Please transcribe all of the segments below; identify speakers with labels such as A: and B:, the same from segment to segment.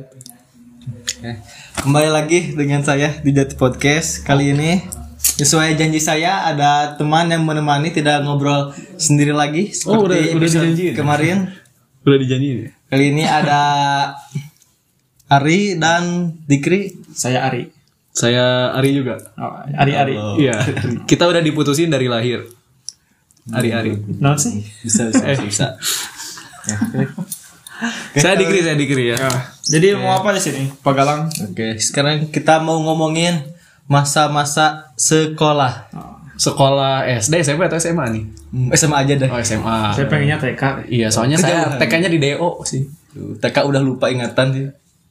A: Oke. Kembali lagi dengan saya di Jati Podcast kali ini. Sesuai janji saya ada teman yang menemani tidak ngobrol sendiri lagi seperti
B: Oh, udah- udah
A: episode
B: dijanjiin.
A: kemarin.
B: Udah dijanjiin ya?
A: Kali ini ada Ari dan Dikri.
C: Saya Ari.
B: Saya Ari juga.
C: Oh, Ari Ari.
B: Iya. Kita udah diputusin dari lahir. Ari-ari.
C: Non sih.
A: Bisa bisa
B: Eh.
A: bisa. bisa.
B: Saya dikri, saya dikri ya.
C: Jadi mau apa di sini? Pak Galang.
A: Oke, sekarang kita mau ngomongin masa-masa sekolah.
B: Sekolah SD, SMP atau SMA nih?
A: Hmm, SMA aja deh.
B: Oh, SMA.
D: Ah.
C: Saya pengennya TK.
B: Iya, soalnya saya TK-nya di DO sih.
A: Tuh, TK udah lupa ingatan sih.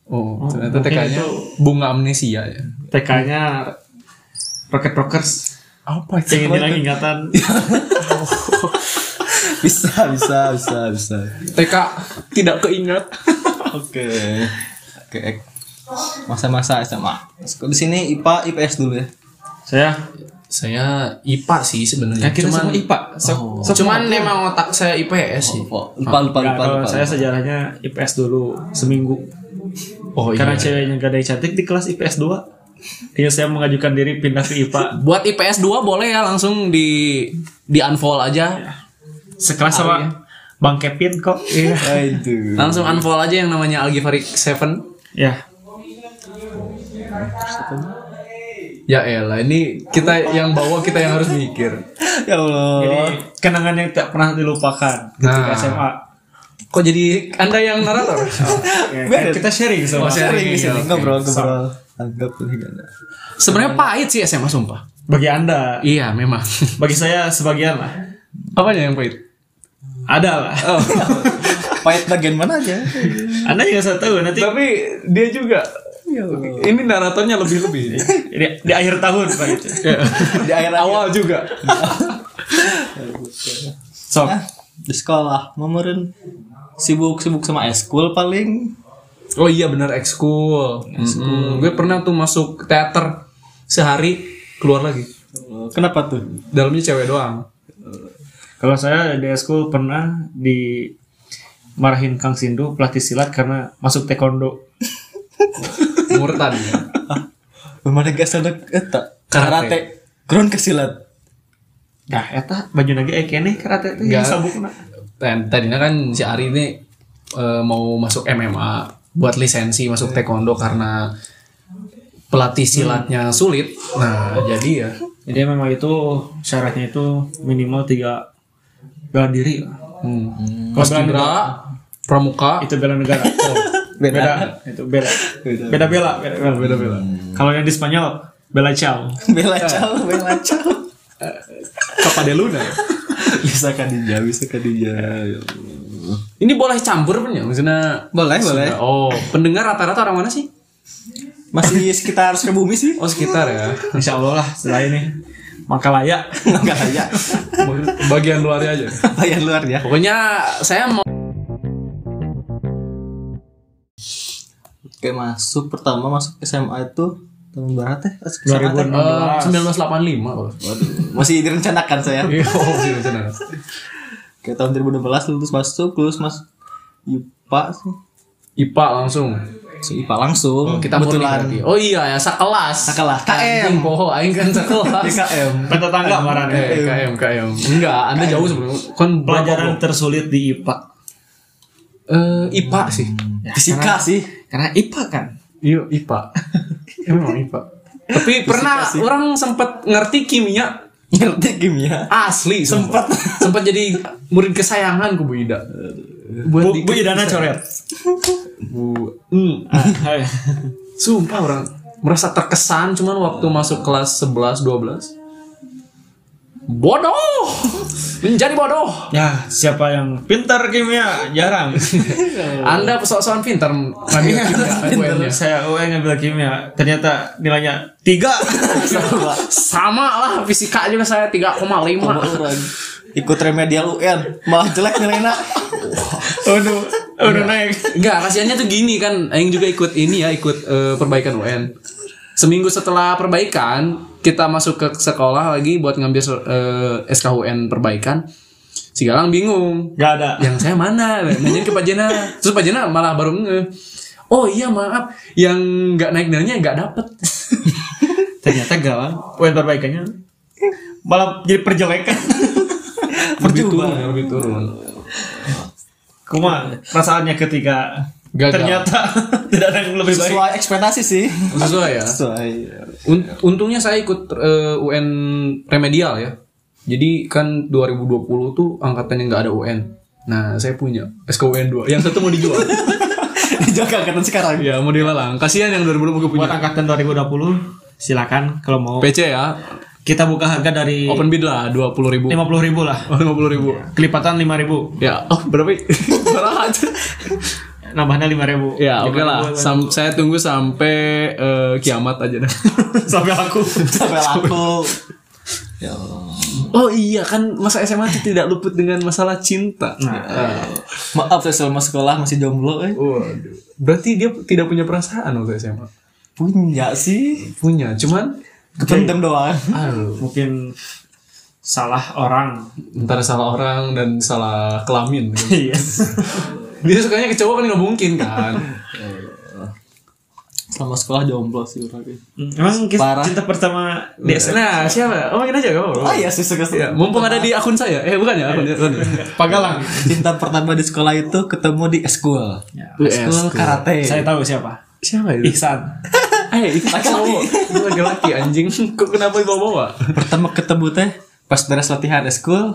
B: Oh, ternyata
C: mungkin
B: TK-nya bunga amnesia ya.
C: TK-nya Rocket Rockers.
B: Apa
C: Yang ini lagi ingatan.
A: Bisa, bisa, bisa, bisa.
B: TK tidak keinget.
A: Oke. Oke. Ek. Masa-masa SMA. Di sini IPA, IPS dulu ya.
C: Saya
D: Saya IPA sih sebenarnya.
C: Kan kita
D: Ya, Cuman
C: semua IPA. Sok-
D: Oh.
C: sok-
D: Cuman emang otak saya IPS sih.
A: Oh, lupa, lupa,
C: Nggak,
A: lupa,
C: kalau
A: lupa.
C: saya sejarahnya IPS dulu seminggu.
D: Oh
B: iya.
C: Karena ceweknya gak ada yang cantik di kelas IPS 2. Kayaknya Iya, saya mengajukan diri pindah ke IPA.
D: Buat IPS 2 boleh ya langsung di di unfollow
B: Iya.
D: aja.
C: Sekelas sama
D: Ari ya.
C: Bang Kevin kok. Iya.
A: Aduh.
D: Langsung unfollow aja yang namanya Algifari 7.
C: ya.
B: Ya elah, ini kita yang bawa kita yang harus mikir.
A: Ya Allah.
C: Jadi kenangan yang tak pernah dilupakan ketika
B: Nah.
C: SMA.
D: Kok jadi Anda yang narator?
C: Ya, kan kita sharing sama.
A: Sharing di sini ngobrol,
C: Oke.
A: ngobrol. Anggap ini gak ada.
D: sebenarnya pahit sih SMA sumpah.
C: Bagi Anda,
D: Iya, memang.
C: bagi saya sebagian lah.
B: Apanya yang pahit?
C: Ada lah.
A: Pahit bagian mana aja?
C: Anda juga saya tahu nanti
B: Tapi dia juga Ya ini naratornya lebih-lebih.
C: di, di akhir tahun Pak gitu.
A: Di akhir awal.
B: Awal juga.
C: Sok.
A: Di sekolah, ngomongin sibuk-sibuk sama eskul paling.
B: Oh iya benar ekskul. Mm-mm. Gue pernah tuh masuk teater sehari keluar lagi.
A: Kenapa tuh?
B: Dalamnya cewek doang.
C: Kalau saya di school pernah di marahin Kang Sindu pelatih silat karena masuk taekwondo.
B: Murtad.
A: Ah, Memang gak sadar eta eh, karate. Ground kesilat.
C: Dah eta baju nage eh kene karate itu yang
B: Enggak.
C: sabukna.
B: Dan tadinya kan si Ari ini eh, mau masuk MMA buat lisensi masuk taekwondo karena pelatih silatnya sulit. Nah, jadi ya
C: Jadi memang itu syaratnya itu minimal tiga bela diri lah.
B: hmm.
A: Hmm.
B: Mas Gibra, Pramuka,
C: Itu bela negara. Oh, beda. Itu bela. Beda bela. Beda bela. Kalau yang di Spanyol bela ciao.
A: Bela ciao, bela ciao.
B: kepada Luna. ya?
A: bisa kadinja, bisa kadinja. Ya Allah.
D: Ini boleh campur punya maksudnya.
A: Boleh, boleh.
D: Oh, pendengar rata-rata orang mana sih?
A: Masih sekitar ke bumi sih.
B: Oh sekitar ya.
C: Insya Allah lah setelah ini Makalaya
A: Enggak kayak
B: Bagian luarnya aja.
A: bayan luar ya.
D: Pokoknya saya mau
A: Oke, masuk pertama masuk SMA itu tahun berapa teh? SMA teh?
B: eh,
C: 2016
D: 1985.
A: Waduh, masih direncanakan saya.
B: Iya, oh, sih, bener.
A: Ke tahun 2016 lulus masuk, lulus Mas IPA sih.
B: IPA langsung.
A: Si IPA langsung.
D: Kita murni berarti. Oh iya ya, sekelas.
A: Sekelas.
D: KM. Poho, aing kan sekelas.
A: DKM.
C: Tetangga marahnya
B: Eh, KM, KM. Enggak, Anda jauh sebelum kon
C: Pelajaran tersulit di IPA
B: eh IPA sih.
A: Fisika sih.
C: Karena IPA kan
B: Iya, IPA. Emang IPA.
D: Tapi pernah orang sempat ngerti kimia
A: Ngerti kimia.
D: asli sempat sempat jadi murid kesayangan ku Bu Ida. Buat
C: Bu,
D: di-
C: Bu Idana coret
B: Bu, hmm, ah,
C: Hai.
B: sumpah orang merasa terkesan cuman waktu masuk kelas 11 12.
D: bodoh. Menjadi bodoh.
C: Ya siapa yang pintar kimia Jarang
D: Anda pesok-pesokan pintar ngambil kimia,
C: Saya UN ngambil kimia Ternyata nilainya Tiga
A: Sama
D: Sama lah fisika juga saya 3,5.
A: orang. Ikut remedial UN, malah jelek nilainya.
C: Aduh Aduh naik
D: Enggak, kasihannya tuh gini kan, Aing juga ikut ini ya, ikut eh, perbaikan UN. Seminggu setelah perbaikan, kita masuk ke sekolah lagi buat ngambil eh, SKUN perbaikan. Si Galang bingung.
C: Gak ada
D: yang saya mana nanyain ke Pak Jena terus Pak Jena malah baru nge oh iya maaf yang nggak naik nilainya nggak dapet
C: Ternyata galang. UN perbaikannya malah jadi perjelekan.
A: Percuma.
D: lebih turun
C: Kuma perasaannya ketika
D: Gagal.
C: ternyata tidak ada yang lebih baik.
A: Sesuai ekspektasi sih.
D: sesuai ya
A: Sesuai.
D: Un- untungnya saya ikut eh, UN remedial ya. Jadi kan 2020 tuh angkatan yang nggak ada UN. Nah, saya punya SKUN 2. Yang satu mau dijual.
A: Dijaga angkatan sekarang.
D: ya, mau dilelang. Kasihan yang
C: Buat
D: 2020 punya.
C: angkatan 2020 silakan kalau mau
D: PC ya.
C: kita buka harga dari
D: Open bid lah 20 ribu.
C: 50.000 lah.
D: Oh, 50 ribu.
C: Kelipatan 5.000,
D: Ya, oh berapa? Berapa aja.
C: nambahnya 5.000.
D: Ya, oke lah. Sam- saya tunggu sampai eh, kiamat aja dah.
C: Sampai aku.
A: Sampai laku.
D: oh iya kan masa SMA itu tidak luput dengan masalah cinta. Nah,
A: Maaf saya selama sekolah masih jomblo eh.
D: Waduh. Berarti dia tidak punya perasaan waktu SMA.
A: Punya sih.
D: Punya, cuman
A: Kependem doang.
D: aduh,
C: Mungkin salah orang.
D: antara salah orang dan salah kelamin.
C: Iya.
D: Dia sukanya ke cowok kan nggak mungkin kan.
A: Selama sekolah jomblo sih orang.
C: Emang kes-
A: Parah.
C: cinta pertama di
D: Yes. Nah, siapa? Omongin aja gak apa-apa.
A: Oh iya sih suka
D: Ya, mumpung ada di akun saya. Eh, bukan ya akun. akun.
C: Pagalang.
A: Cinta pertama di sekolah itu ketemu di school.
C: Ya.
A: School
D: Iya.
A: karate.
C: Saya tahu siapa.
D: Siapa itu?
C: Ihsan.
D: Eh, itu cowok. Itu laki-laki anjing. Kok kenapa dibawa-bawa?
A: Pertama ketemu teh pas beres latihan school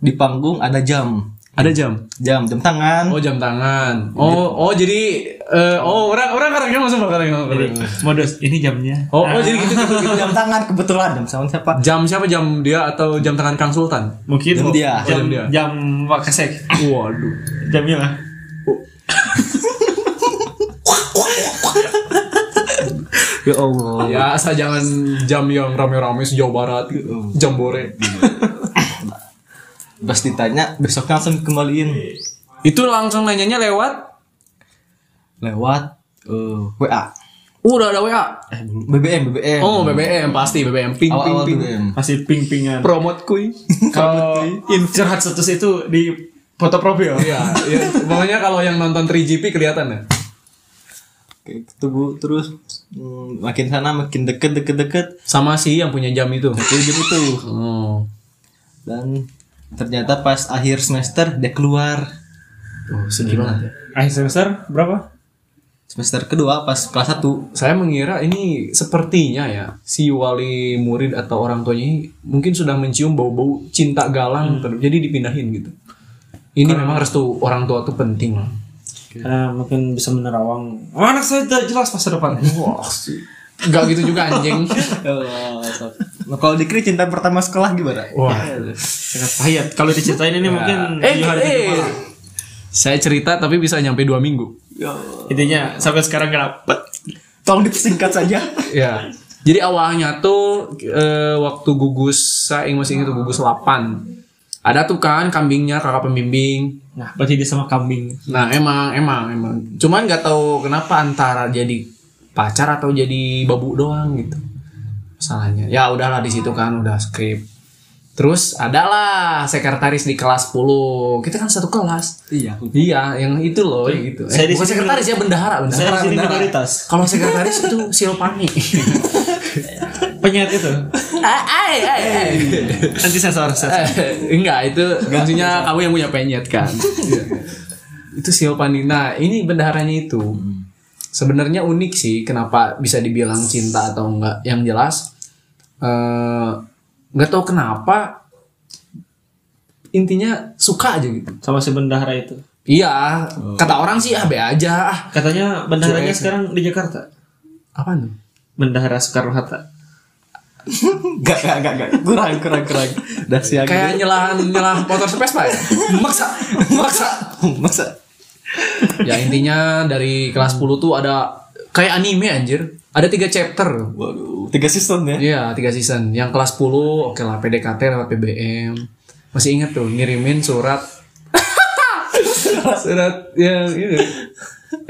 A: di panggung ada jam.
D: Ada jam.
A: Jam jam tangan.
D: Oh, jam tangan. Oh, oh jadi eh, oh orang orang karangnya langsung bakal karangnya.
C: Modus ini jamnya.
D: Iya. Oh, oh jadi gitu, gitu, gitu.
A: jam tangan kebetulan jam sama siapa?
D: Jam siapa jam dia atau jam tangan Kang Sultan?
C: Mungkin
A: Jam
C: mau-
A: dia.
C: Jam,
D: Jam dia.
C: jam Wakasek.
D: Waduh.
C: Jamnya lah.
A: Ya Allah.
D: Ya, asal jangan jam yang rame-rame sejauh barat gitu. Jam bore.
A: Pas ditanya besok langsung kembaliin
D: Itu langsung nanyanya lewat
A: lewat eh, WA.
D: "Uh, udah ada WA.
A: Eh, belum. BBM BBM.
D: Oh, BBM pasti BBM ping ping
A: awal-awal
D: ping.
A: BBM.
C: Masih ping-pingan.
D: Promote kuy. Kalau
C: In curhat status itu di foto profil.
D: Iya, iya. Pokoknya kalau yang nonton 3GP kelihatan ya.
A: Kayak ketemu terus hmm, makin sana makin deket deket deket
D: Sama si yang punya jam itu.
A: jadi dia butuh
D: Oh.
A: dan ternyata pas akhir semester dia keluar Nah,
D: Oh, sedih banget ya.
C: Akhir semester berapa?
A: semester kedua pas kelas 1
D: Saya mengira ini sepertinya ya si wali murid atau orang tuanya ini mungkin sudah mencium bau-bau cinta galang ter- jadi dipindahin gitu. Ini memang restu orang tua tuh penting lah.
C: Karena Eh, mungkin bisa menerawang. Oh, anak saya tidak jelas masa depan. Wah,
D: Gak gitu juga anjing.
A: nah, kalau dikri cinta pertama sekolah gimana
C: sangat pahit. ya? Kalau diceritain ini mungkin
D: eh,
C: tujuh hari
D: eh.
C: kedua.
D: Saya cerita tapi bisa nyampe dua minggu.
C: Intinya sampai sekarang gak dapet.
A: tolong dipersingkat saja
D: Ya. Jadi awalnya tuh eh, waktu gugus saya masih ingat tuh gugus 8. Ada tuh kan kambingnya kakak pembimbing.
C: Nah, berarti dia sama kambing.
D: Nah emang emang emang. Cuman nggak tahu kenapa antara jadi pacar atau jadi babu doang gitu. Masalahnya. Ya udahlah di situ kan udah skrip. Terus adalah sekretaris di kelas 10. Kita kan satu kelas.
A: iya
D: Iya, yang itu loh yang gitu.
C: Saya
D: Eh,
C: di
D: bukan
C: sini
D: sekretaris ya bendahara,
C: Saya di
D: bendahara.
C: sini
D: bendahara.
C: minoritas.
D: Kalau sekretaris itu silopani.
C: Penyiat itu. Ah,
D: Ai,
C: iya,
D: ai, ai.
C: Nanti sensor, sensor.
D: Eh, enggak itu maksudnya kamu yang punya penyet kan Iya. itu Siopani nah ini bendaharanya itu
C: Hmm.
D: sebenarnya unik sih kenapa bisa dibilang cinta atau enggak yang jelas eh, nggak tahu kenapa intinya suka aja gitu
C: Sama si bendahara itu.
D: iya
C: Oh.
D: kata orang sih ah be aja ah
C: Katanya bendaharanya
D: Cuek.
C: sekarang di Jakarta.
D: apa tuh
C: Bendahara Soekarno Hatta.
A: gak gak gak gak kurang kurang kurang dah siang
D: kayak nyelahan nyelah motor Vespa ya maksa maksa
A: masa
D: ya intinya dari kelas 10 tuh ada kayak anime anjir ada tiga chapter
A: waduh tiga season ya
D: Iya, tiga season. Yang kelas 10, oke lah PDKT lewat PBM. Masih inget tuh, ngirimin surat. surat yang itu.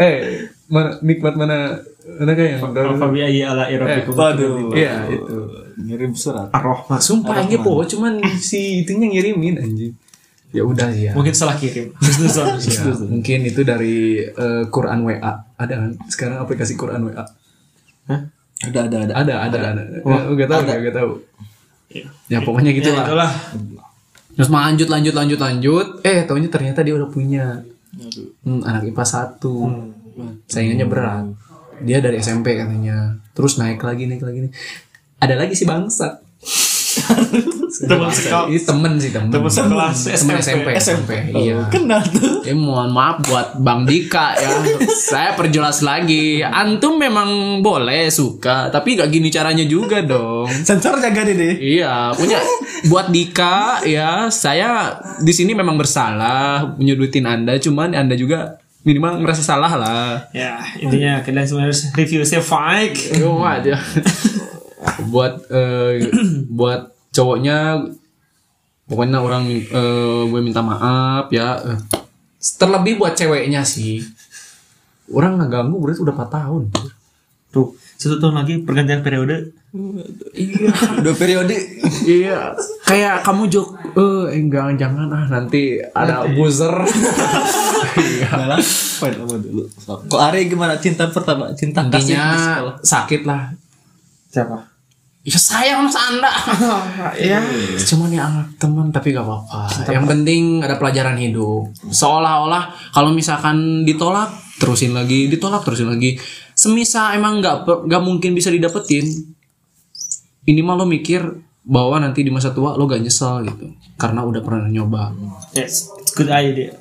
D: Eh, mana, nikmat mana mana kayak yang
C: Fabi Ayi ala Irofikum.
A: waduh
D: Iya, itu.
A: ngirim surat
C: Ar-Rahman.
D: Sumpah aja po, cuman si itunya ngirimin anjing. ya udah sih ya
C: Mungkin salah kirim. Husnuzon.
D: Ya, mungkin itu dari eh, Quran WA ada kan sekarang aplikasi Quran WA
A: Ada ada ada.
D: ada ada ada Eh, nggak tahu nggak tahu ya pokoknya gitulah
C: Itulah.
D: terus lanjut lanjut lanjut lanjut eh tahunya ternyata dia udah punya Hmm, anak IPA satu saingannya berat dia dari SMP katanya terus naik lagi naik lagi nih ada lagi si bangsa
C: Teman sekap.
D: ini temen sih temen
C: Teman sekelas
D: temen SMP
A: Oh,
C: SMP.
D: SMP iya
A: Kenal tuh.
D: Ya mohon maaf buat Bang Dika ya. Saya perjelas lagi. Antum memang boleh suka, tapi nggak gini caranya juga dong.
A: Sensor jaga deh deh.
D: Iya, punya buat Dika ya. Saya di sini memang bersalah menyudutin Anda, cuman Anda juga minimal ngerasa salah lah.
C: Ya, intinya kalian sebenarnya harus review saya fake.
D: Yo ya? aja. buat eh, buat cowoknya pokoknya orang eh, gue minta maaf ya. Eh, Terlebih buat ceweknya sih. Orang nggak ganggu berarti udah 4 tahun.
C: Tuh, satu tahun lagi pergantian periode.
D: Iya.
A: Dua periode.
D: iya. Kayak kamu jok eh enggak jangan ah nanti ada buzzer.
A: Malah. Poin Iya. apa dulu? Kok Ari gimana cinta pertama? Cinta kasih
D: Intinya
A: di sekolah.
D: sakit lah.
C: Siapa?
D: Ya sayang sama anda ya. Cuman ya anak teman tapi gak apa-apa Yang penting ada pelajaran hidup Seolah-olah kalau misalkan ditolak Terusin lagi, ditolak terusin lagi Semisa emang gak, per- gak mungkin bisa didapetin Ini mah lo mikir bahwa nanti di masa tua lo gak nyesel gitu Karena udah pernah nyoba
C: Yes, it's good idea.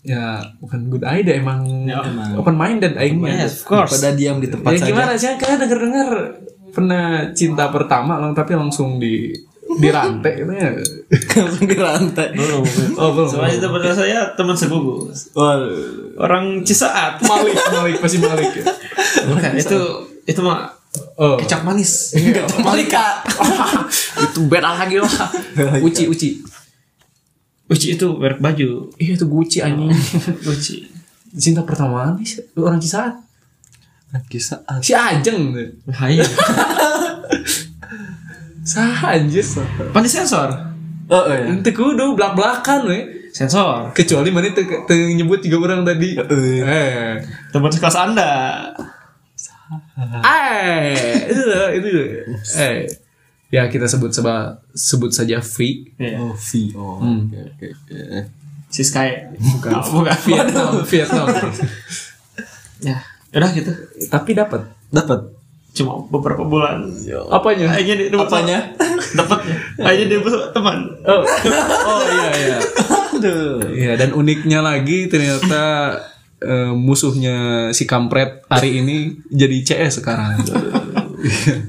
D: Ya bukan good idea emang Open minded aingnya
C: Yes, of course.
A: Pada diam di tempat
D: Ya
A: saja.
D: gimana sih kalian denger dengar pernah cinta pertama lang- tapi langsung di dirantai gitu ya.
A: Langsung dirantai.
C: Belum.
D: Oh, belum.
C: Soalnya itu pada saya teman segugus.
A: Waduh.
C: Orang Cisaat.
D: Malik, Malik pasti Malik ya.
C: Bukan, itu itu mah
D: Oh.
C: kecap manis.
A: Enggak
D: Malika. Iya. itu beda lagi lah. Uci, Uci.
C: Uci itu merek baju.
D: Iya itu Gucci anjing.
C: Uci.
D: Oh. Cinta pertama nih si- orang Cisaat.
A: kisah.
D: Si Ajeng.
C: Hai.
D: Sah anjir. iya.
C: Pan di sensor.
A: Oh, oh, ya.
D: Ente kudu belak-belakan we.
C: Sensor.
D: Kecuali mana te, te nyebut tiga orang tadi. Eh.
C: Teman sekelas Anda.
D: Eh, itu itu. Eh. Ya kita sebut seba, sebut saja V.
C: Iya.
A: Oh, V. Oh, oke, oke, oke.
C: Si Sky. Bukan. Bukan.
D: Vietnam, Vietnam.
C: Ya. Udah gitu.
D: Tapi dapat.
A: Dapat.
C: Cuma beberapa bulan.
D: Apanya?
C: Akhirnya dia dapat
A: Apanya?
C: Dapatnya. Akhirnya dia dapat teman.
D: Oh, oh iya iya.
A: Aduh.
D: Iya dan uniknya lagi ternyata eh, musuhnya si kampret hari ini jadi CS sekarang.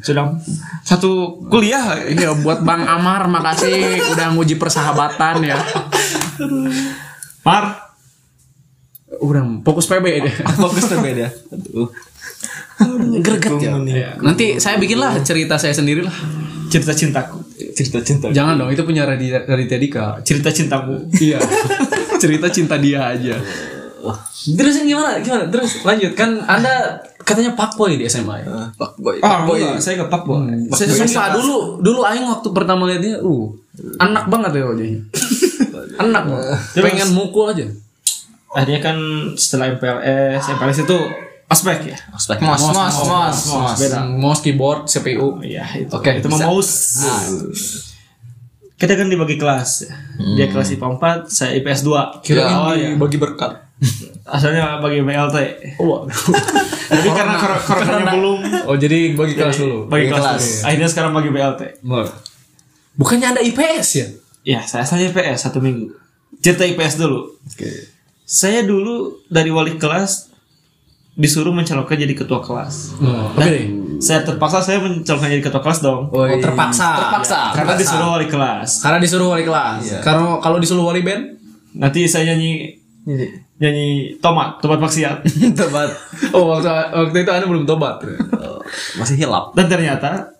C: Sudah satu kuliah.
D: Iya buat Bang Amar makasih udah nguji persahabatan ya.
C: Mar.
D: Udah fokus PB deh.
A: Fokus berbeda. Aduh.
D: Greget ya. Iya. Nanti saya bikinlah cerita saya sendiri lah.
C: Cerita cintaku.
A: Cerita cinta.
D: Jangan dong itu punya Raditya Raditya Dika.
C: Cerita cintamu.
D: Iya. Cerita cinta dia aja. Terus yang gimana? Gimana? Terus lanjut kan Anda katanya fuckboy di SMA ya?
A: Pak Eh, boy.
C: Ah, enggak, saya gak boy.
D: Saya susah dulu dulu aing waktu pertama lihat dia uh enak banget ya wajahnya. enak banget. Pengen mukul aja.
C: Akhirnya kan setelah MPLS, MPLS itu ospek ya.
A: Ospek. Mos, mos, mos, mos.
C: Beda.
D: Mouse keyboard CPU.
C: Iya itu.
D: Oke,
C: itu mah
D: bisa.
C: mouse. Kita kan dibagi kelas. ya. Dia kelas IPA 4, saya IPS 2.
D: Kirain
C: oh,
D: di-
C: iya.
D: bagi berkat.
C: Asalnya bagi BLT.
D: Oh, Waduh.
C: Tapi karena kor- koronanya belum
D: Oh jadi bagi kelas dulu.
C: bagi kelas.
A: kelas.
C: dulu. Akhirnya sekarang bagi BLT.
D: Bukannya ada IPS ya?
C: Ya, saya asalnya IPS satu minggu. Cerita IPS dulu.
A: Oke.
C: Saya dulu dari wali kelas disuruh mencalonkan jadi ketua kelas.
D: Nah, Oke deh.
C: Saya terpaksa saya mencalonkan jadi ketua kelas dong.
A: Oh,
D: terpaksa. Terpaksa.
C: karena disuruh wali kelas.
D: Karena disuruh wali kelas. Karena kalau disuruh wali band,
C: Nanti saya nyanyi nyanyi tomat, tomat maksiat.
A: Tempat
D: oh waktu waktu itu anda belum tobat.
A: masih hilap.
C: Dan ternyata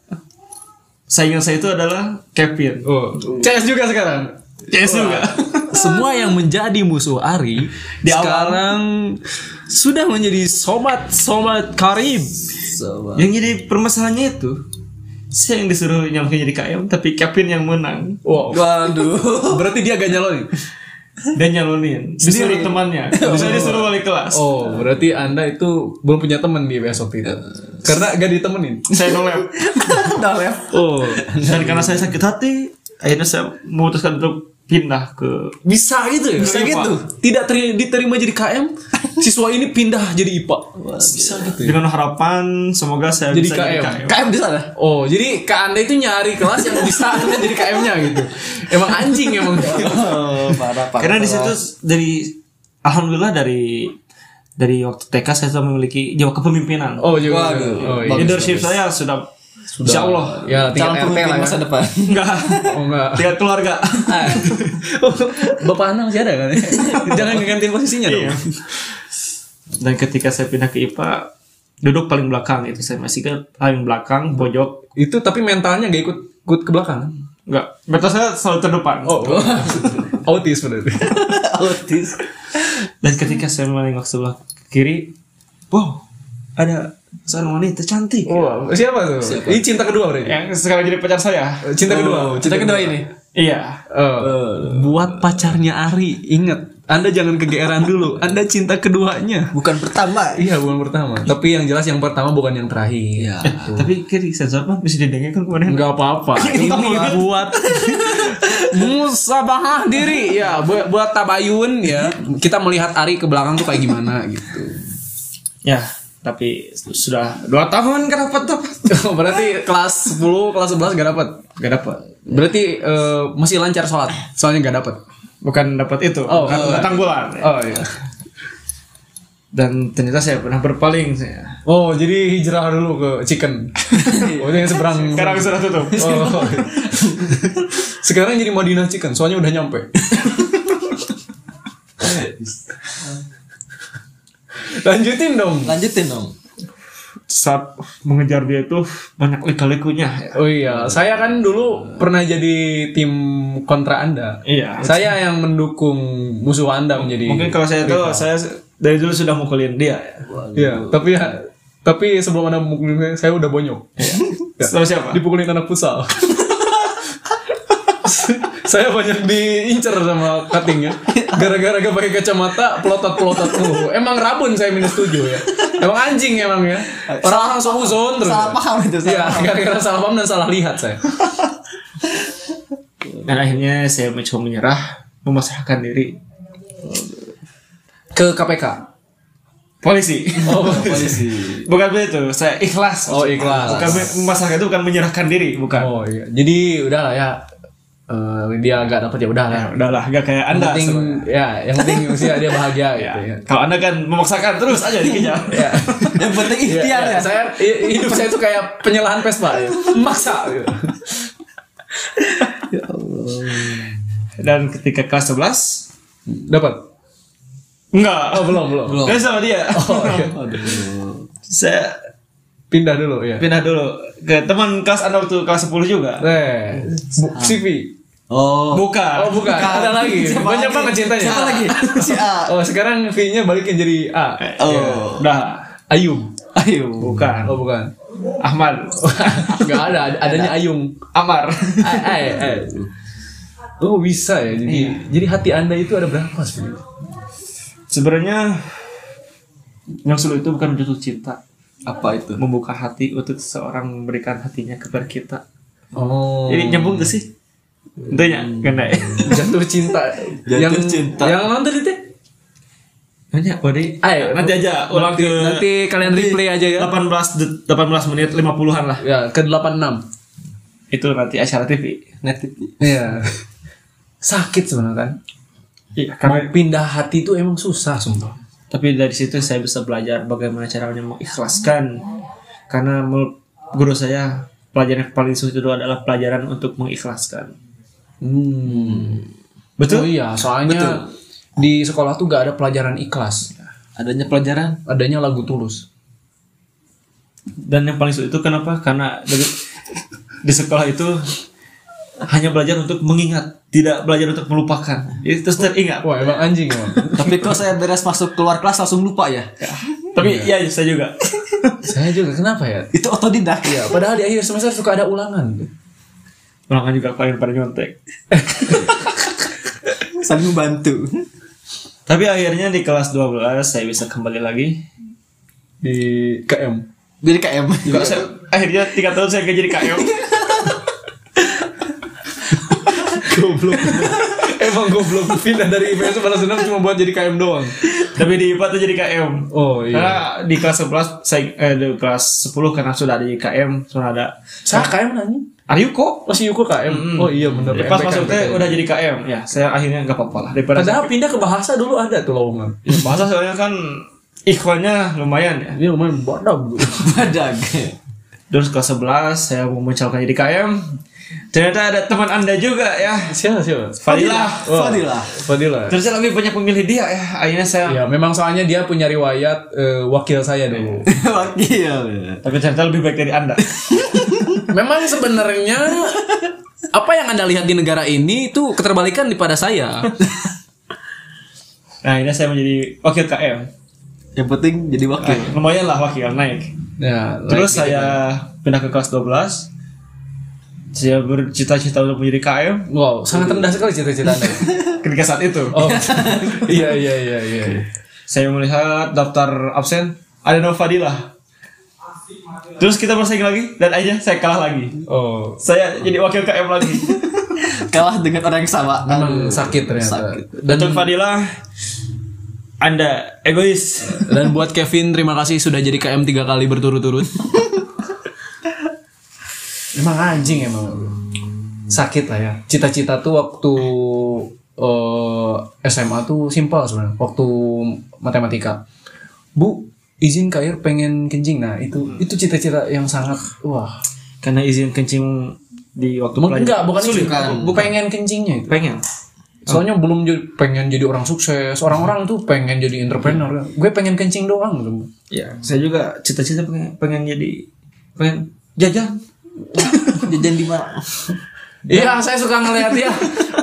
C: saingan saya itu adalah Kevin.
D: Oh, CS juga sekarang.
C: Yes juga.
D: Semua yang menjadi musuh Ari
C: Di awal.
D: sekarang sudah menjadi sobat-sobat karib.
A: So,
C: yang jadi permasalahannya itu saya yang disuruh nyampe jadi KM tapi Kevin yang menang.
D: Wow.
A: Waduh.
D: Berarti dia gak nyalonin.
C: Dia nyalunin Disuruh temannya Bisa disuruh balik kelas
D: Oh, berarti Anda itu belum punya temen di besok itu. Karena gak ditemenin.
C: Saya nolep
A: Dolep.
C: Oh Dan karena saya sakit hati Akhirnya saya memutuskan untuk pindah ke
D: Bisa gitu ya?
A: Bisa
D: Pak?
A: gitu.
D: Tidak teri- diterima jadi KM, siswa ini pindah jadi IPA. Bisa gitu ya?
C: Dengan harapan Semoga saya
D: Jadi
C: bisa
D: KM.
C: jadi KM
B: KM di sana.
D: Oh, jadi Kak Anda itu nyari kelas yang bisa Anda jadi KM-nya gitu. Emang anjing emang.
A: Oh, parah, parah.
C: Karena di situ dari Alhamdulillah dari dari waktu TK saya sudah memiliki jiwa kepemimpinan.
D: Oh, juga.
A: Waduh.
D: Oh, iya.
C: leadership saya sudah, Insya Allah
D: Ya,
A: calon
D: tinggal RT
A: pemimpin
D: lah ya.
A: masa depan.
C: enggak
D: Oh, enggak. Oh.
C: lihat keluarga.
D: Ah. Bapak Anda masih ada kan? Jangan ngegantiin posisinya dong.
C: Dan ketika saya pindah ke IPA duduk paling belakang itu saya masih ke paling belakang pojok
D: Itu tapi mentalnya gak ikut ikut ke belakang. kan?
C: enggak betul saya selalu terdepan
D: Oh, autis berarti.
A: Autis.
C: dan ketika saya menengok sebelah kiri wow ada seorang wanita cantik
D: Wah, siapa tuh? Ini cinta kedua berarti. Eh,
C: yang Oh. sekarang jadi pacar saya
D: Cinta kedua. Oh. Eh.
B: Kita kedua ini.
C: iya
D: Buat pacarnya Ari, ingat. Anda jangan kegeeran dulu. Anda cinta keduanya.
A: Bukan pertama.
D: Iya, bukan pertama. Tapi yang jelas yang pertama bukan yang terakhir.
A: Iya.
C: tapi kiri sensor mah bisa didengar kan kemarin
D: Enggak apa-apa. Ini buat musabahah diri ya, bu- buat tabayun ya. Kita melihat Ari ke belakang tuh kayak gimana gitu.
C: ya tapi sudah dua tahun kan dapat dapat
D: Oh, Berarti kelas 10, kelas 11 gak dapat.
C: gak dapat
D: Berarti eh, masih lancar sholat. Soalnya gak dapat.
C: bukan dapat itu
D: Oh,
C: bukan
D: oh.
C: datang bulan
D: Oh iya.
C: dan ternyata saya pernah berpaling saya
D: Oh, jadi hijrah dulu ke chicken. Oh, itu yang seberang.
C: sekarang sudah tutup
D: Oh. Sekarang jadi Madinah Chicken, soalnya udah nyampe. Lanjutin dong.
A: Lanjutin dong.
C: saat mengejar dia itu banyak lika-likunya
D: Oh iya,
A: Hmm.
D: saya kan dulu pernah jadi tim kontra Anda.
C: Iya.
D: Saya yang mendukung musuh Anda menjadi.
C: mungkin kalau saya tuh saya dari dulu sudah mukulin dia ya.
D: Iya, tapi ya, tapi sebelum Anda memukulin saya, saya udah bonyok.
A: Iya.
D: Ya.
C: Sama siapa?
D: Dipukulin anak pusal. saya banyak diincer sama cutting ya. Gara-gara gak pakai kacamata, pelotot-pelotot mulu. Emang rabun saya minus 7 ya. Emang anjing emang ya. Orang orang sok uzon terus.
A: Salah paham itu, salah
D: Iya, gara-gara salah paham dan salah lihat saya.
C: dan akhirnya saya mencoba menyerah memasrahkan diri
D: Ke KPK.
C: polisi
D: Oh,
A: iya.
C: bukan begitu saya ikhlas
D: Oh, ikhlas.
C: bukan me- memasrahkan itu bukan menyerahkan diri bukan
D: Oh iya. Jadi udahlah ya. Eh, dia gak dapat ya
C: Ya,
D: udahlah.
C: udahlah gak kayak
D: Yang
C: anda
D: penting
C: sebenarnya.
D: ya, yang penting usia dia bahagia
C: Ya,
D: gitu ya.
C: kalau anda kan memaksakan terus aja dikejar
D: Ya.
A: Yang penting
D: Iya,
A: ikhtiar
D: iya.
A: ya.
D: Saya i- hidup saya tuh kayak penyelahan Vespa, ya. maksa. Gitu.
C: dan ketika kelas 11
D: Dapat?
C: enggak
D: Oh belum belum.
A: Belum.
C: Saya sama dia saya
D: Pindah dulu ya.
C: pindah dulu ke teman kelas anda waktu kelas 10 juga
D: Eh, bu- CV.
A: Oh.
C: Ah. bukan
D: Oh bukan, ada lagi.
A: Siapa
D: Banyak
A: lagi?
D: banget cintanya.
A: Siapa lagi? Si A.
D: Oh sekarang V-nya balikin jadi A. Iya.
A: Oh.
C: udah
D: Ayum.
A: Ayo.
C: bukan
D: Oh bukan.
C: Ahmad
D: Gak ada, ad- adanya Ayung.
C: Amar
D: Ay, ay, ay. Oh bisa ya. Jadi jadi hati anda itu ada berapa sebenarnya?
C: sebenarnya yang sulit itu bukan jatuh cinta
A: Apa itu?
C: membuka hati untuk seorang memberikan hatinya kepada kita
D: Oh.
C: jadi nyambung gak sih tentunya ganda ya
D: jatuh cinta
A: Jatuh cinta.
D: yang nonton itu
C: Nanya, Wadi.
D: Ayo,
C: nanti aja ulang
D: nanti,
C: ke
D: nanti kalian replay aja ya
C: 18 de- 18 menit 50-an lah
D: ya ke 86
C: itu nanti acara TV
A: Netip.
D: Iya sakit sebenarnya kan
C: Iya,
D: mau
C: karena-
D: pindah hati itu emang susah sumpah
C: tapi dari situ saya bisa belajar bagaimana caranya mengikhlaskan karena menurut guru saya pelajaran yang paling sulit itu adalah pelajaran untuk mengikhlaskan
D: hmm.
C: betul
D: oh iya soalnya di sekolah tuh gak ada pelajaran ikhlas
A: Adanya pelajaran.
D: adanya lagu tulus
C: dan yang paling sulit itu kenapa karena dari- di sekolah itu hanya belajar untuk mengingat tidak belajar untuk melupakan itu terus teringat
D: wah emang anjing emang
A: Tapi kok saya beres masuk keluar kelas langsung lupa ya?
C: tapi ya saya juga
D: saya juga kenapa ya
A: Itu otodidak ya.
D: padahal di akhir semester suka ada ulangan
C: ulangan juga kalian pada nyontek
A: saling membantu
C: Tapi akhirnya di kelas 12 saya bisa kembali lagi di KM.
A: jadi KM
C: Kalau saya- akhirnya tiga tahun saya gak jadi E KM.
D: Goblok. Emang goblok pindah dari IPS balas dendam cuma buat jadi KM doang.
C: Tapi di IPA tuh jadi E KM.
D: Oh
C: Karena di kelas 11 saya eh, di kelas 10 karena sudah ada IKM, sudah ada
D: Saya KM nanya.
C: Aryuko.
D: Masih Yuko KM. Oh iya benar.
C: Pas masuk teh udah jadi KM. Ya, saya akhirnya nggak apa-apa lah. Daripada
D: Padahal pindah ke bahasa dulu ada tuh lowongan.
C: Ya, bahasa soalnya kan ikhwannya lumayan ya.
D: Ini lumayan bodoh bro.
A: badag
C: Terus kelas 11 saya mau mencoba jadi KM. Ternyata ada teman Anda juga ya.
D: Siapa siapa?
C: Fadilah.
D: Oh.
A: Fadilah
D: Fadila.
C: Terus saya lebih banyak memilih dia ya. Akhirnya saya
D: Ya memang soalnya dia punya riwayat eh, wakil saya dulu.
A: wakil
C: tapi ternyata lebih baik dari Anda.
D: Memang sebenarnya
B: Apa yang anda lihat di negara ini itu keterbalikan di pada saya.
C: Nah, akhirnya saya menjadi wakil KM.
A: yang penting jadi wakil
D: Ah.
C: Nah, lumayan lah wakil naik.
D: ya
C: Terus saya pindah ke kelas 12. Saya bercita-cita untuk menjadi KM
D: wow sangat rendah sekali cita-cita Anda.
C: ketika saat itu.
D: Oh iya iya iya iya.
C: Saya melihat daftar absen ada Nova Fadilah. Terus kita bersaing lagi dan akhirnya saya kalah lagi.
D: Oh
C: Saya jadi wakil KM lagi.
A: kalah dengan orang yang sama
D: memang
A: Aduh.
D: sakit ternyata.
A: Sakit.
D: Dan
C: Untuk Fadilah Anda egois.
B: Dan buat Kevin terima kasih sudah jadi KM tiga kali berturut-turut.
D: Emang anjing emang sakit lah ya. Cita-cita tuh waktu eh, SMA tuh simpel sebenarnya. Waktu matematika, Bu izin kair pengen kencing. Nah itu itu cita-cita yang sangat wah.
C: Karena izin kencing di waktu
D: Emang
C: pelajar.
D: enggak bukan itu.
A: kan?
D: Bu pengen kencingnya itu.
C: Pengen.
D: Soalnya belum jadi, pengen jadi orang sukses. Orang-orang tuh pengen jadi entrepreneur. Gue pengen kencing doang. gitu.
C: Ya, saya juga cita-cita pengen, pengen jadi pengen jajan.
A: jajan di mana
D: Iya, saya suka ngeliat dia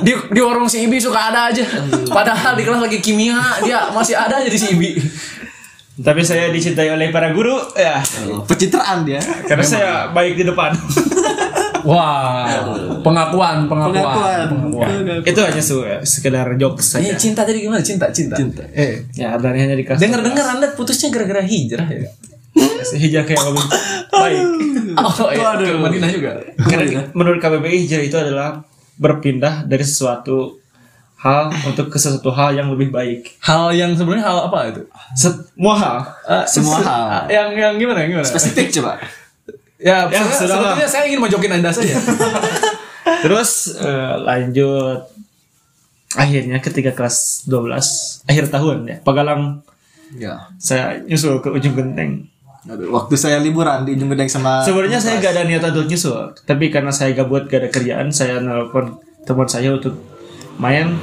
D: di, di warung si Ibi suka ada aja. Padahal di kelas lagi kimia, dia masih ada aja di si Ibi.
C: Tapi saya dicintai oleh para guru, ya.
A: Eh, pencitraan dia
C: Karena saya baik di depan.
D: Wah, Iya. pengakuan, pengakuan.
A: pengakuan
C: Itu hanya su eh, sekedar jokes saja.
D: Ini cinta tadi gimana? Cinta, cinta. Eh,
C: Ya, berani hanya di kelas.
D: dengar-dengar Anda putusnya gara-gara hijrah ya?
C: hijrah kayak kamu. Baik.
D: Oh, iya, ke Madinah juga.
C: Karena menurut KBBI hijrah itu adalah berpindah dari sesuatu hal untuk ke sesuatu hal yang lebih baik.
D: Hal yang sebenarnya hal apa itu? Ah,
C: Semua hal.
A: semua hal
D: Yang yang gimana? Gimana?
A: spesifik coba
D: Ya,
C: Ya,
D: se-
C: sudah lah.
D: sebetulnya saya ingin mojokin Anda saja.
C: Terus eh, lanjut akhirnya ketika kelas 12 akhir tahun ya pagalang
A: ya
D: Iya.
C: saya nyusul ke ujung genteng
A: Aduh, waktu saya liburan di ujung gedeng sama
C: sebenarnya saya gak ada niatan untuk nyusul tapi karena saya gabut gak ada kerjaan saya nelpon teman saya untuk main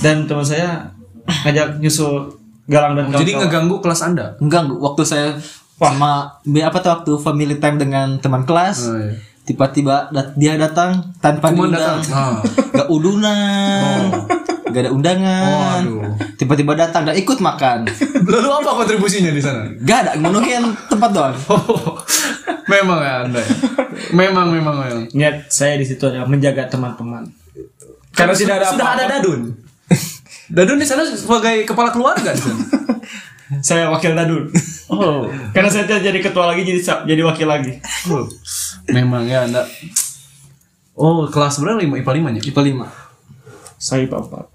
C: dan teman saya ngajak nyusul galang dan kawan
D: Oh, Jadi ngeganggu kelas Anda.
A: enggak waktu saya sama apa tuh waktu family time dengan teman
D: Oh,
A: kelas
D: Eh. iya.
A: tiba-tiba dat- dia datang tanpa diundang
D: datang. Ah.
A: nggak udunan nggak ada undangan tiba-tiba datang dan ikut makan
D: Lalu apa kontribusinya di sana?
A: nggak ada menuhin tempat doang
D: memang ya Anda. ya? Memang memang memang.
C: niat saya di situ adalah menjaga teman-teman
D: Karena tidak ada sudah ada Dadun. Dadun di sana sebagai kepala keluarga di sana.
C: saya wakil dadun
D: Oh,
C: karena saya tidak jadi ketua lagi jadi sa- jadi wakil lagi
D: memang ya Anda. Oh, kelas berapa lima IPA lima nya?
A: tipe lima
C: saya bapak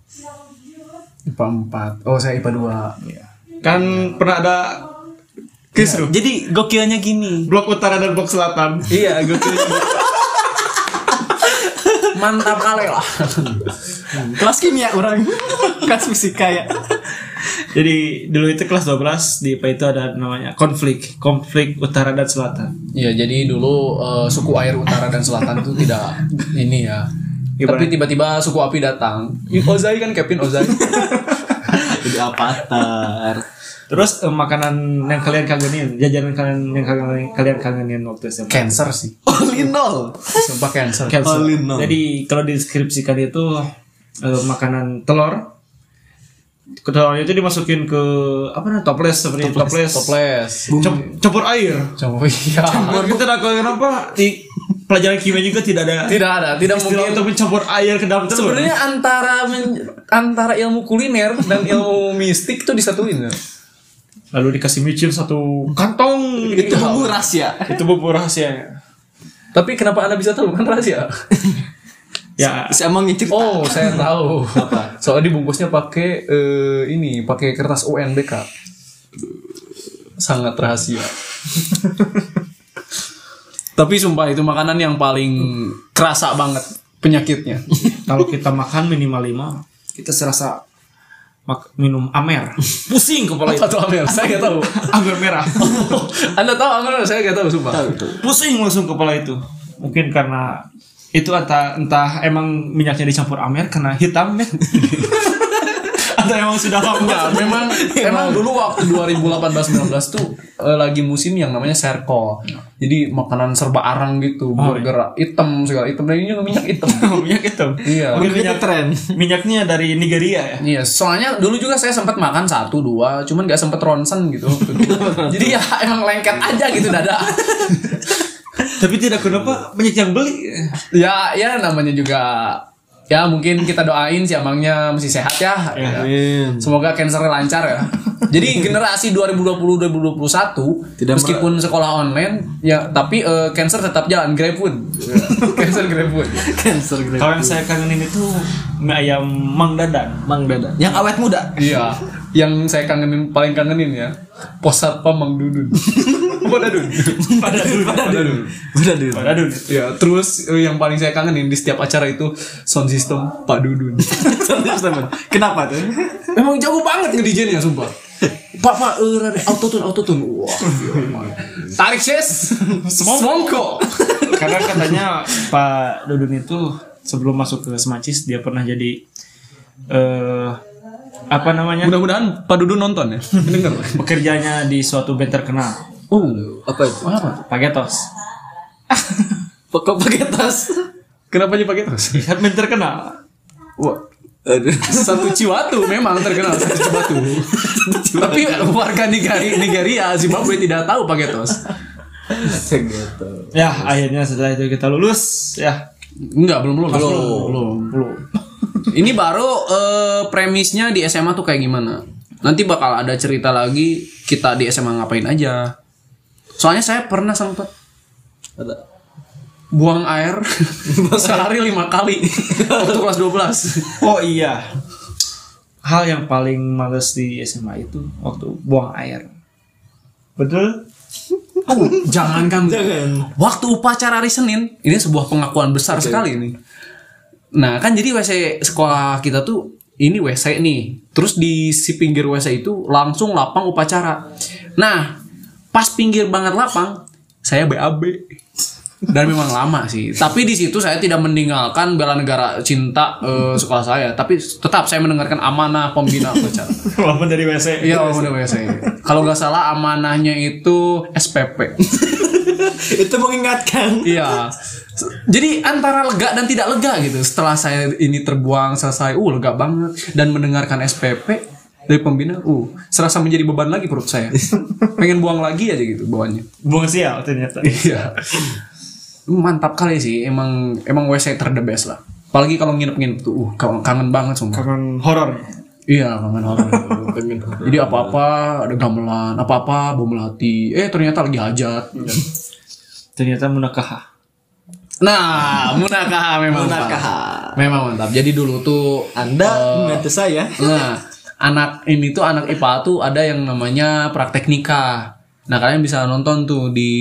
D: IPA empat. Oh, saya IPA dua.
C: kan pernah ada kisruh
B: jadi gokilnya gini.
C: blok utara dan blok selatan
D: Iya, gue Mantap kali lah.
A: Hmm. kelas kimia orang kelas fisika ya
C: jadi dulu itu kelas 12 di IPA itu ada namanya konflik konflik utara dan selatan
D: Iya, jadi dulu eh, suku air utara dan selatan itu tidak ini ya.
C: Gimana?
D: Tapi tiba-tiba suku api datang. Ozai kan Kevin Ozai.
A: jadi avatar
C: terus eh, makanan yang kalian kangenin jajanan kalian yang kalian kalian kangenin waktu SMA
D: cancer sih.
A: olinol
D: Sumpah cancer.
C: Cancel.
A: All in all.
C: Jadi kalau deskripsikan itu eh, makanan telur. Telurnya itu dimasukin ke apa namanya toples seperti toples.
D: Toples.
C: Cem- campur air.
D: Cowok iya.
C: Kita tidak tahu kenapa di pelajaran kimia juga tidak ada
D: Tidak ada, tidak
C: istilah
D: mungkin.
C: untuk mencampur air ke dalam telur.
D: Sebenarnya antara men- antara ilmu kuliner dan ilmu mistik tuh disatuin. ya.
C: lalu dikasih micin satu kantong gitu.
D: Itu
C: bubur
A: ya.
D: rahasia.
C: itu bubur rahasianya
D: Tapi kenapa Anda bisa tahu kan rahasia?
C: ya
A: Si Amang ngicip.
D: Oh, saya tahu. Soalnya dibungkusnya pakai eh, ini, pakai kertas UNBK. Sangat rahasia. Tapi sumpah itu makanan yang paling kerasa banget penyakitnya.
C: kalau kita makan minimal lima kita serasa mak- minum amer pusing kepala itu
D: Apa tuh Amel? Saya nggak tahu.
C: amer merah
D: Anda tahu Amel? Saya nggak tahu sumpah.
C: pusing langsung kepala itu mungkin karena itu entah entah emang minyaknya dicampur amer karena hitam ya atau emang sudah
D: Nah,
A: Iya.
C: lama
D: memang emang dulu waktu 2018 19 tuh eh, lagi musim yang namanya serko. Jadi makanan serba arang gitu, burger hitam segala hitam dan ini juga minyak hitam.
C: minyak itu
D: Iya.
C: gitu. Mungkin
A: Minyaknya
C: minyak
A: tren.
C: minyaknya dari Nigeria ya
D: Iya, soalnya dulu juga saya sempat makan satu dua, cuman gak sempet ronsen gitu. waktu itu. Jadi ya emang lengket aja gitu dada.
C: tapi tidak kenapa banyak yang beli
D: ya, ya namanya juga ya mungkin kita doain si Amangnya masih sehat ya. Ya.
A: Amin.
D: Semoga cancernya lancar ya. Jadi generasi 2020-2021
A: Tidak
D: meskipun sekolah online ya tapi eh, cancer tetap jalan GrabFood.
A: Iya.
D: cancer GrabFood.
A: Cancer gitu.
C: kalau yang saya kangenin itu mie ayam Mang Dadan
A: Mang Dada. Yang awet muda.
D: Iya, yang saya kangenin paling kangenin ya pos satpam Mang Dudun. Apa Dadun?
C: pada dulu pada dulu
A: Muda dulu.
C: pada dulu
D: Ya, terus eh, yang paling saya kangenin di setiap acara itu sound system Pak Dudun.
A: Serius, teman. Kenapa tuh?
D: Emang jago banget nge-DJ-nya, sumpah. Pak, Pak, eh, autotune, autotune. Wah, gila, man. Tarik, Ses. Semongko.
C: karena katanya Pak Dudun itu sebelum masuk ke Semacis dia pernah jadi eh apa namanya
D: Mudah-mudahan Pak Dudun nonton ya. Dengar.
C: bekerjanya di suatu band terkenal
D: Oh,
A: Apa itu?
D: apa?
C: Pagetos
A: Pokok pakai tas.
D: Kenapa dia pakai terus?
C: lihat band terkenal
D: Wah,
A: Aduh.
D: satu Ciwatu memang terkenal satu Ciwatu. Tapi warga Nigeria, Nigeria Zimbabwe tidak tahu pakai tos.
A: Segitu.
C: ya akhirnya setelah itu kita lulus ya
D: Enggak, belum belum belum. belum.
C: belum
D: Ini baru eh, premisnya di SMA tuh kayak gimana? Nanti bakal ada cerita lagi kita di SMA ngapain aja. Soalnya saya pernah sempet
A: Ada.
D: buang air sehari lima kali waktu kelas 12
C: oh iya hal yang paling males di SMA itu waktu buang air betul
D: Oh, jangan kamu.
A: Jangan.
D: Waktu upacara hari Senin, ini sebuah pengakuan besar sekali ini. Nah, kan jadi WC sekolah kita tuh ini WC nih. Terus di si pinggir WC itu langsung lapang upacara. Nah, pas pinggir banget lapang, saya BAB. Dan memang lama sih. Tapi di situ saya tidak meninggalkan bela negara cinta eh, sekolah saya, tapi tetap saya mendengarkan amanah pembina upacara.
C: walaupun dari WC
D: Iya, udah WC. Kalau nggak salah amanahnya itu SPP.
A: Itu mengingatkan.
D: Iya. Jadi antara lega dan tidak lega gitu. Setelah saya ini terbuang selesai, uh lega banget dan mendengarkan SPP dari pembina, uh serasa menjadi beban lagi perut saya. Pengen buang lagi aja gitu bawaannya.
C: buang sial ternyata
D: Iya. Mantap kali sih, emang emang WC ter the best lah. Apalagi kalau nginep-nginep tuh, uh kangen- kangen banget sumpah.
C: kangen horor
D: Iya, kangen horor. Jadi apa-apa ada gamelan, apa-apa bom melati. Eh ternyata lagi hajat.
C: ternyata munakah
D: Nah, munakaha memang. Pak.
A: Munakaha.
D: Memang mantap. Jadi dulu tuh eh,
A: Anda membantu saya.
D: nah, anak ini tuh anak IPA tuh ada yang namanya praktek nikah. Nah, kalian bisa nonton tuh di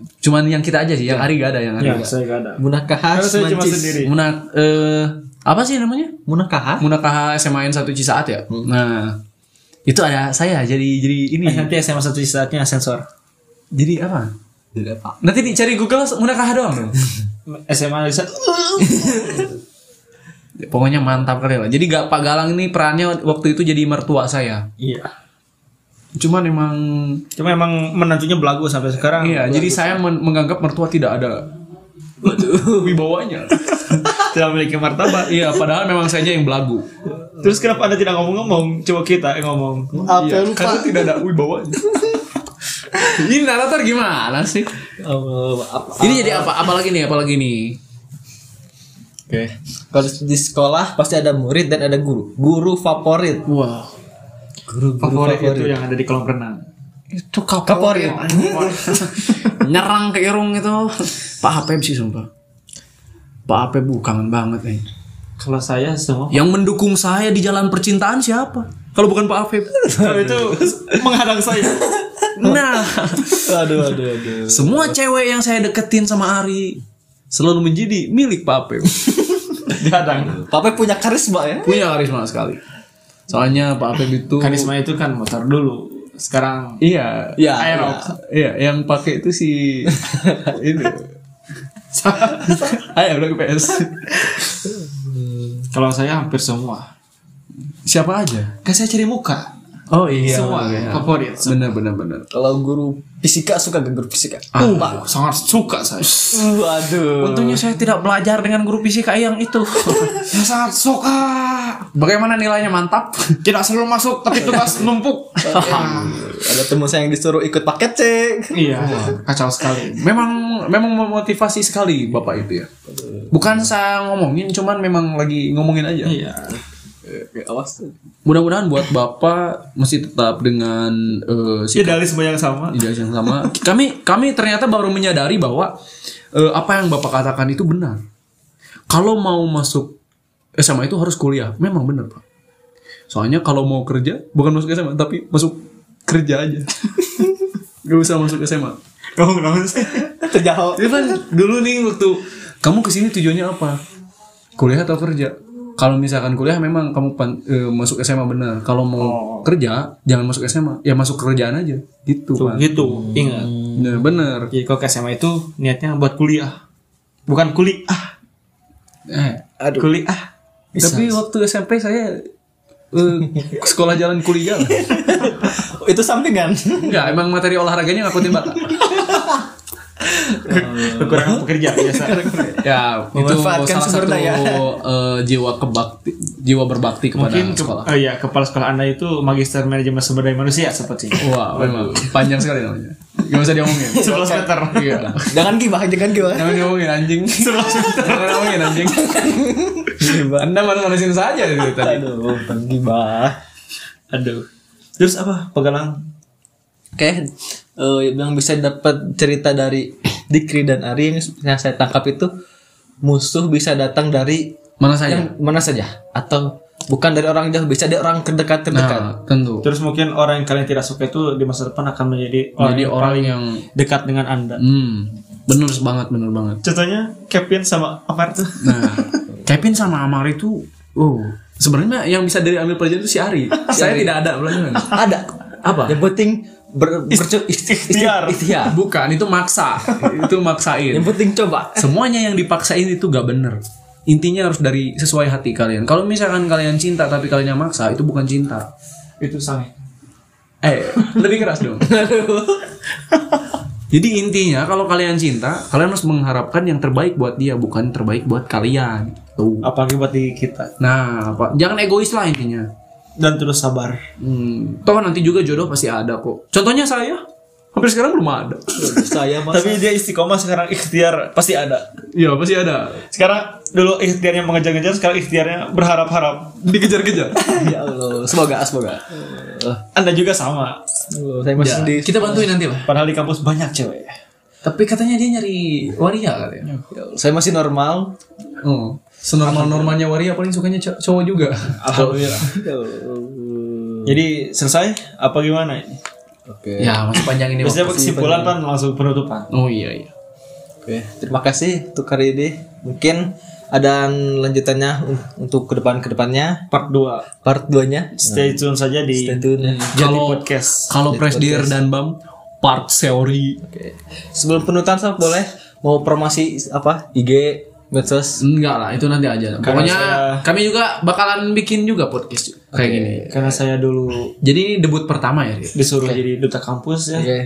D: cuman yang kita aja sih, yang Ari gak ada yang Ari.
C: ya
D: gak Iya, ada.
C: saya gak ada
A: Munakaha
C: Karena saya cuma
A: Semancis.
C: sendiri.
D: Munak eh, apa sih namanya?
A: Munakaha.
D: Munakaha SMAN satu Cisaat ya.
C: Hmm.
D: Nah, itu ada saya jadi jadi ini.
C: Eh, nanti SMA satu saatnya sensor.
D: jadi apa?
A: Tidak apa.
D: Nanti dicari Google Munakaha doang dong.
C: SMA Lisa
D: Pokoknya mantap kali lah. Jadi gak Pak Galang ini perannya waktu itu jadi mertua saya.
C: Iya.
D: Cuman emang
C: Cuma emang menantunya belagu sampai sekarang.
D: iya, jadi saya men- menganggap mertua tidak ada wibawanya.
C: Tidak memiliki martabat.
D: iya, padahal memang saya yang belagu.
C: Terus kenapa Anda Iya, tidak ngomong-ngomong? Coba kita yang ngomong.
A: Apa lupa?
D: Karena tidak ada wibawanya. Ini narator gimana sih?
A: Oh, apa-
D: Ini jadi apa? Apalagi nih? Apalagi nih?
A: Oke. Kalau di sekolah pasti ada murid dan ada guru. Guru favorit.
D: Wah,
A: Guru,
C: Favorit, itu yang ada di kolam renang.
D: itu kapal
A: Favorit.
D: nyerang ke irung itu. Pak Hapem sih sumpah. Pak Hapem bu kangen banget nih.
C: Kalau saya semua
D: Yang mendukung saya di jalan percintaan siapa? Kalau bukan Pak Hapem.
C: kalau itu menghadang saya.
D: Nah,
A: aduh, aduh, aduh.
D: semua cewek yang saya deketin sama Ari selalu menjadi milik Pak Hapem.
C: Dihadang.
A: Papa punya karisma ya.
D: Punya karisma sekali. Soalnya Pak Hapem itu
C: Karisma itu kan motor dulu. Sekarang
D: Iya,
A: Iya,
D: Aerox. Iya, yang pakai itu si ini. Ayo udah PS.
C: kalau saya hampir semua.
D: Siapa aja?
C: Kan saya cari muka.
D: Oh iya.
C: semua ya, favorit.
D: Benar benar benar.
A: Kalau guru fisika suka ke guru fisika.
C: Uh, sangat suka saya.
A: Uh, aduh.
D: Tentunya saya tidak belajar dengan guru fisika yang itu. Ya,
C: Saya sangat suka.
D: Bagaimana nilainya mantap?
C: Tidak selalu masuk tapi tugas numpuk.
A: Ada teman saya yang disuruh ikut paket C.
C: iya, kacau sekali.
D: Memang memang memotivasi sekali bapak itu ya. Bukan saya ngomongin, cuman memang lagi ngomongin aja. Eh,
C: Iya.
A: Awas.
D: Mudah-mudahan buat bapak masih tetap dengan eh, si
C: Idealisme yang sama.
D: tidak yang sama. Kami kami ternyata baru menyadari bahwa eh, apa yang Bapak katakan itu benar. Kalau mau masuk SMA itu harus kuliah. Memang benar, Pak. Soalnya kalau mau kerja bukan masuk SMA tapi masuk kerja aja. Gak usah masuk SMA.
C: Kamu kenapa sih?
A: Terjauh.
D: Itu kan dulu nih waktu kamu kesini tujuannya apa? Kuliah atau kerja? Kalau misalkan kuliah memang kamu pan- eh, masuk SMA benar. Kalau mau kerja jangan masuk SMA, ya masuk kerjaan aja. Gitu, Pak.
C: Gitu, ingat.
D: Bener, bener.
C: Jadi kalau ke SMA itu niatnya buat kuliah. Bukan kuliah.
D: Eh,
C: Kuliah.
D: tapi waktu SMP saya eh, sekolah jalan kuliah. lah.
A: Itu sampingan.
D: Enggak, emang materi olahraganya ngakutin batak.
C: Kekurangan pekerja biasa.
D: Ya, itu salah
A: Memanfaatkan sumber
D: satu
A: daya.
D: eh, jiwa kebakti, jiwa berbakti kepada
C: Mungkin ke-
D: sekolah.
C: oh iya, kepala sekolah Anda itu magister manajemen sumber daya manusia sepertinya.
D: Wah, memang panjang sekali namanya. Gak usah diomongin.
C: 11 meter.
D: Iya.
A: jangan gibah, jangan gibah.
D: Jangan diomongin anjing. Jangan diomongin anjing.
A: Gibah.
D: Anda manusin saja dari tadi.
A: Aduh, penggibah.
C: Aduh. Terus apa? Pegalang.
A: Oke, eh, yang bisa dapat cerita dari Dikri dan Ari yang, yang saya tangkap itu musuh bisa datang dari
D: Mana saya?
A: yang mana saja atau bukan dari orang jauh bisa dari orang terdekat terdekat.
D: Nah, tentu.
C: Terus mungkin orang yang kalian tidak suka itu di masa depan akan menjadi orang
D: Jadi
C: yang
D: orang yang
C: dekat dengan Anda.
D: hmm, bener banget, bener banget.
C: Contohnya Kevin sama Amar tuh.
D: Nah, Kevin sama Amar itu, uh, sebenarnya yang bisa dari ambil pelajaran itu si Ari. Saya tidak ada pelajaran.
A: Ada
D: Apa?
A: Yang penting ber, bercu- isti-
C: ikhtiar.
A: isti- ikhtiar.
D: Bukan, itu maksa. itu maksain.
A: Yang penting coba.
D: Semuanya yang dipaksain itu gak bener. Intinya harus dari sesuai hati kalian. Kalau misalkan kalian cinta tapi kalian yang maksa, itu bukan cinta.
C: Itu sange.
D: Eh, lebih keras dong. Jadi intinya kalau kalian cinta, kalian harus mengharapkan yang terbaik buat dia, bukan terbaik buat kalian. Tuh.
C: Apalagi buat di kita.
D: Nah, apa? jangan egois lah intinya.
C: Dan terus sabar.
D: Hmm, toh nanti juga jodoh pasti ada kok. Contohnya saya, hampir sekarang belum ada.
A: saya mas.
C: Tapi dia istiqomah sekarang ikhtiar pasti ada.
D: Iya pasti ada.
C: Sekarang dulu ikhtiarnya mengejar-ngejar, sekarang ikhtiarnya berharap-harap.
D: Dikejar-kejar.
A: ya Allah, semoga semoga. Eh,
C: Anda juga sama.
A: aduh, saya masih di
D: Kita bantuin nanti lah.
C: Padahal di kampus banyak cewek.
D: Tapi katanya dia nyari waria katanya.
A: ya Allah, saya masih normal.
D: Iya. Oh, senormal normalnya waria paling sukanya cow- cowok juga.
C: Alhamdulillah.
A: Ya Allah.
C: Jadi selesai apa gimana ini?
A: Oke.
D: ya masih panjang ini.
C: Biasanya
D: waktu.
C: kesimpulan kan langsung penutupan.
D: Oh iya iya.
A: Oke, terima kasih untuk hari ini. Mungkin ada lanjutannya un- untuk ke depan ke depannya
C: Part 2.
A: part 2-nya.
C: Stay tune saja di
A: Nah. Stay tune.
C: Jadi
D: Kalau-
C: podcast.
D: Kalau press dear dan bam part theory
A: Oke. Sebelum penutupan Sob, boleh mau promosi apa? IG medsos.
D: enggak lah itu nanti aja. Pokoknya kami juga bakalan bikin juga podcast kayak gini.
C: Karena saya dulu
D: Jadi ini debut pertama ya. Ri?
C: disuruh jadi duta kampus ya.
A: Oke.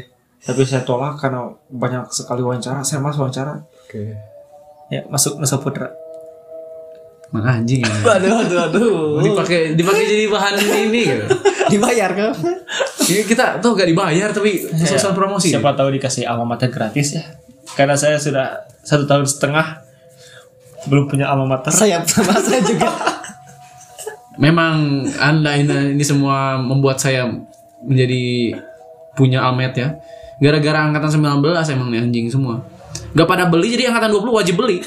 C: Tapi saya tolak karena banyak sekali wawancara. Saya mas wawancara.
A: Oke.
C: Ya masuk Nusa Putra.
D: Mang anjing ya.
A: Aduh, aduh, aduh.
D: dipakai dipakai jadi bahan ini gitu.
A: Dibayar kok.
D: Ini kita tuh gak dibayar tapi sosial
C: Ya,
D: promosi.
C: Siapa tahu dikasih alma mater gratis ya. Karena saya sudah satu tahun setengah belum punya alma mater.
A: Saya sama saya juga.
D: Memang anda ini, ini semua membuat saya menjadi punya almet ya. Gara-gara angkatan 19 emang nih anjing semua. Gak pada beli jadi angkatan 20 wajib beli.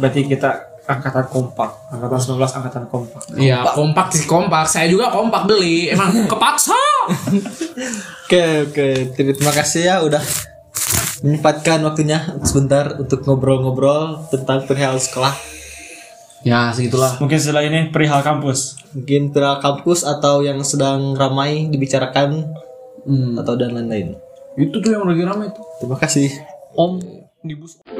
C: Berarti kita angkatan kompak, angkatan 19 angkatan kompak.
D: Iya kompak sih kompak. Saya juga kompak beli. Emang kepaksa.
A: Oke oke. Terima kasih ya udah menyempatkan waktunya sebentar untuk ngobrol-ngobrol tentang perihal sekolah.
D: Ya segitulah.
C: Mungkin setelah ini perihal kampus.
A: Mungkin perihal kampus atau yang sedang ramai dibicarakan
D: Hmm.
A: atau dan lain-lain.
D: Itu tuh yang lagi rame tuh.
A: Terima kasih.
D: Om di bus.